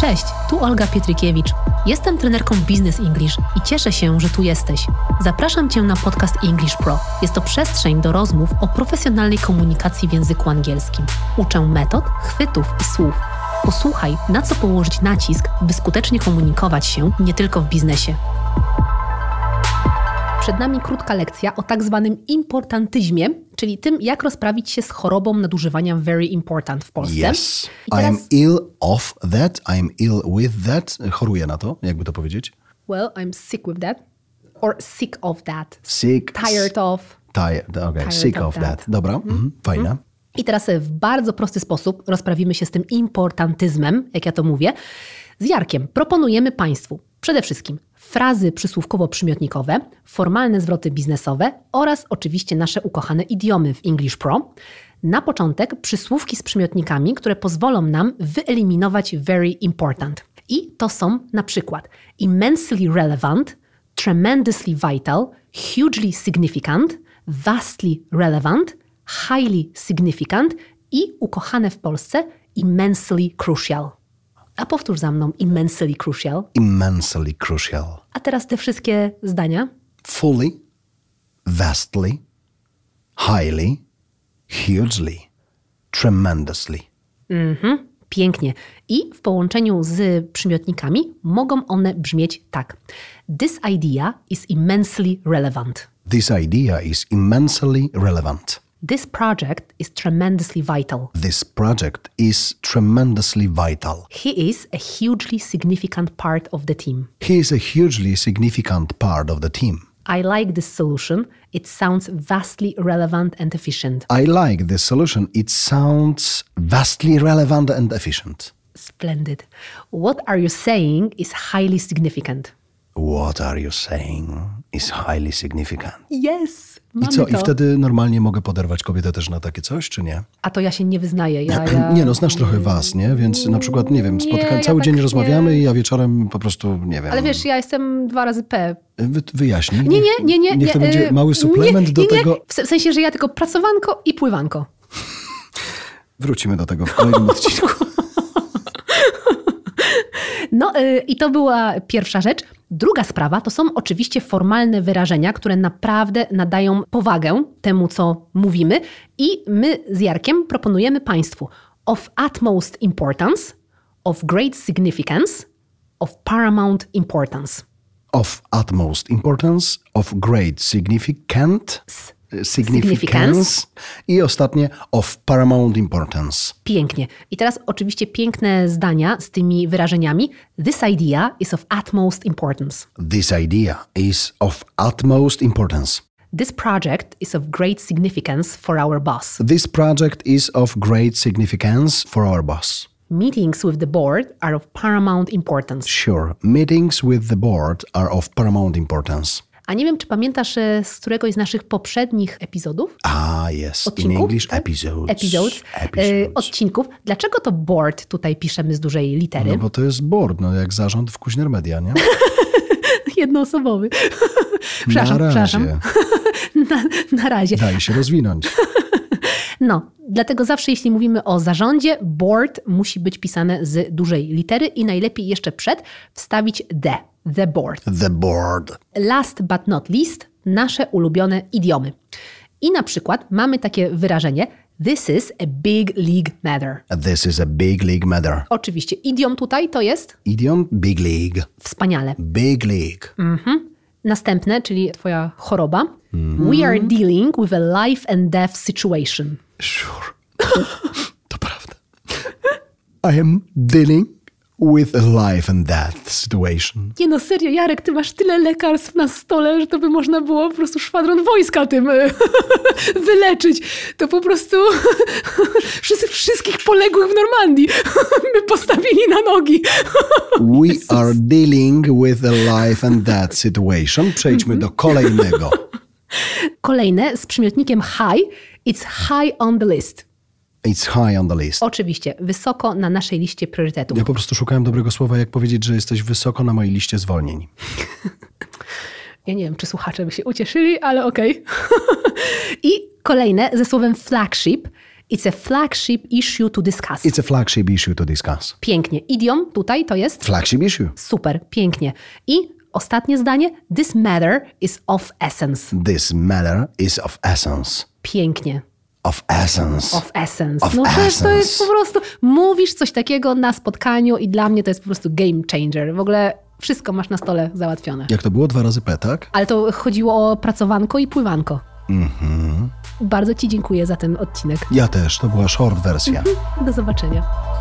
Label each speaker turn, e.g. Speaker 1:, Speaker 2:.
Speaker 1: Cześć, tu Olga Pietrykiewicz. Jestem trenerką Business English i cieszę się, że tu jesteś. Zapraszam Cię na podcast English Pro. Jest to przestrzeń do rozmów o profesjonalnej komunikacji w języku angielskim. Uczę metod, chwytów i słów. Posłuchaj, na co położyć nacisk, by skutecznie komunikować się nie tylko w biznesie. Przed nami krótka lekcja o tak zwanym importantyzmie, czyli tym, jak rozprawić się z chorobą nadużywania very important w Polsce.
Speaker 2: Yes.
Speaker 1: I
Speaker 2: I am
Speaker 1: teraz-
Speaker 2: ill of that, I am ill with that. Choruję na to, jakby to powiedzieć.
Speaker 1: Well, I'm sick with that. Or sick of that.
Speaker 2: Sick.
Speaker 1: Tired of.
Speaker 2: Tired, okay.
Speaker 1: Tired
Speaker 2: Sick
Speaker 1: of
Speaker 2: of that.
Speaker 1: that.
Speaker 2: Dobra, mhm. fajne.
Speaker 1: I teraz e, w bardzo prosty sposób rozprawimy się z tym importantyzmem, jak ja to mówię. Z Jarkiem proponujemy Państwu przede wszystkim frazy przysłówkowo-przymiotnikowe, formalne zwroty biznesowe oraz oczywiście nasze ukochane idiomy w English Pro. Na początek przysłówki z przymiotnikami, które pozwolą nam wyeliminować very important. I to są na przykład immensely relevant, tremendously vital, hugely significant, vastly relevant, highly significant i ukochane w Polsce immensely crucial. A powtórz za mną immensely crucial.
Speaker 2: Immensely crucial.
Speaker 1: A teraz te wszystkie zdania.
Speaker 2: Fully, vastly, highly, hugely, tremendously.
Speaker 1: Pięknie. I w połączeniu z przymiotnikami mogą one brzmieć tak. This idea is immensely relevant.
Speaker 2: This idea is immensely relevant.
Speaker 1: This project is tremendously vital.
Speaker 2: This project is tremendously vital.
Speaker 1: He is a hugely significant part of the team.
Speaker 2: He is a hugely significant part of the team.
Speaker 1: I like this solution. It sounds vastly relevant and efficient.
Speaker 2: I like this solution. It sounds vastly relevant and efficient.
Speaker 1: Splendid. What are you saying is highly significant.
Speaker 2: What are you saying is highly significant.
Speaker 1: Yes,
Speaker 2: I
Speaker 1: mamy
Speaker 2: co? I
Speaker 1: to.
Speaker 2: wtedy normalnie mogę poderwać kobietę też na takie coś, czy nie?
Speaker 1: A to ja się nie wyznaję. Ja, ja...
Speaker 2: Nie no, znasz trochę was, nie? Więc na przykład, nie wiem, spotykam,
Speaker 1: ja
Speaker 2: cały
Speaker 1: tak
Speaker 2: dzień
Speaker 1: nie.
Speaker 2: rozmawiamy i ja wieczorem po prostu, nie wiem,
Speaker 1: Ale wiesz, ja jestem dwa razy P.
Speaker 2: wy, wyjaśnij.
Speaker 1: Nie, nie, nie, nie.
Speaker 2: Niech to
Speaker 1: nie,
Speaker 2: będzie
Speaker 1: y,
Speaker 2: mały suplement
Speaker 1: nie,
Speaker 2: do
Speaker 1: nie, nie.
Speaker 2: tego.
Speaker 1: W se- w sensie, że ja tylko pracowanko i pływanko.
Speaker 2: Wrócimy do tego w kolejnym odcinku.
Speaker 1: No y, i to była pierwsza rzecz. Druga sprawa to są oczywiście formalne wyrażenia, które naprawdę nadają powagę temu, co mówimy. I my z Jarkiem proponujemy Państwu of utmost importance, of great significance, of paramount importance.
Speaker 2: Of utmost importance, of great significant,
Speaker 1: Significance.
Speaker 2: significance i ostatnie of paramount importance.
Speaker 1: Pięknie. I teraz oczywiście piękne zdania z tymi wyrażeniami. This idea is of utmost importance.
Speaker 2: This idea is of utmost importance.
Speaker 1: This project is of great significance for our boss.
Speaker 2: This project is of great significance for our boss.
Speaker 1: Meetings with the board are of paramount importance.
Speaker 2: Sure, meetings with the board are of paramount importance.
Speaker 1: A nie wiem, czy pamiętasz e, z któregoś z naszych poprzednich epizodów?
Speaker 2: Ah, yes.
Speaker 1: Odcinków?
Speaker 2: In English,
Speaker 1: tak?
Speaker 2: episodes.
Speaker 1: Episodes. e,
Speaker 2: Episodes.
Speaker 1: Odcinków. Dlaczego to board tutaj piszemy z dużej litery?
Speaker 2: No bo to jest board, no jak zarząd w Kuźner Media, nie?
Speaker 1: Jednoosobowy. przepraszam,
Speaker 2: Na
Speaker 1: przepraszam.
Speaker 2: razie.
Speaker 1: Na, na razie.
Speaker 2: Daj się rozwinąć.
Speaker 1: No, dlatego zawsze jeśli mówimy o zarządzie, board musi być pisane z dużej litery i najlepiej jeszcze przed wstawić the, the board.
Speaker 2: The board.
Speaker 1: Last but not least, nasze ulubione idiomy. I na przykład mamy takie wyrażenie This is a big league matter.
Speaker 2: This is a big league matter.
Speaker 1: Oczywiście idiom tutaj to jest
Speaker 2: Idiom big league.
Speaker 1: wspaniale.
Speaker 2: Big league.
Speaker 1: Następne, czyli twoja choroba. We are dealing with a life and death situation.
Speaker 2: Sure. to prawda. I am dealing with a life and death situation.
Speaker 1: Nie no, serio, Jarek, ty masz tyle lekarstw na stole, że to by można było po prostu szwadron wojska tym y, wyleczyć. To po prostu wszyscy- wszystkich poległych w Normandii by postawili na nogi.
Speaker 2: We are dealing with a life and death situation. Przejdźmy do kolejnego.
Speaker 1: Kolejne z przymiotnikiem high. It's high on the list.
Speaker 2: It's high on the list.
Speaker 1: Oczywiście, wysoko na naszej liście priorytetów.
Speaker 2: Ja po prostu szukałem dobrego słowa, jak powiedzieć, że jesteś wysoko na mojej liście zwolnień.
Speaker 1: Ja nie wiem, czy słuchacze by się ucieszyli, ale okej. I kolejne ze słowem flagship. It's a flagship issue to discuss.
Speaker 2: It's a flagship issue to discuss.
Speaker 1: Pięknie. Idiom tutaj to jest
Speaker 2: Flagship issue.
Speaker 1: super, pięknie. I ostatnie zdanie. This matter is of essence.
Speaker 2: This matter is of essence.
Speaker 1: Pięknie.
Speaker 2: Of essence.
Speaker 1: Of essence.
Speaker 2: Of
Speaker 1: no przecież to jest
Speaker 2: essence.
Speaker 1: po prostu, mówisz coś takiego na spotkaniu i dla mnie to jest po prostu game changer. W ogóle wszystko masz na stole załatwione.
Speaker 2: Jak to było dwa razy P, tak?
Speaker 1: Ale to chodziło o pracowanko i pływanko.
Speaker 2: Mhm.
Speaker 1: Bardzo Ci dziękuję za ten odcinek.
Speaker 2: Ja też, to była short wersja.
Speaker 1: Do zobaczenia.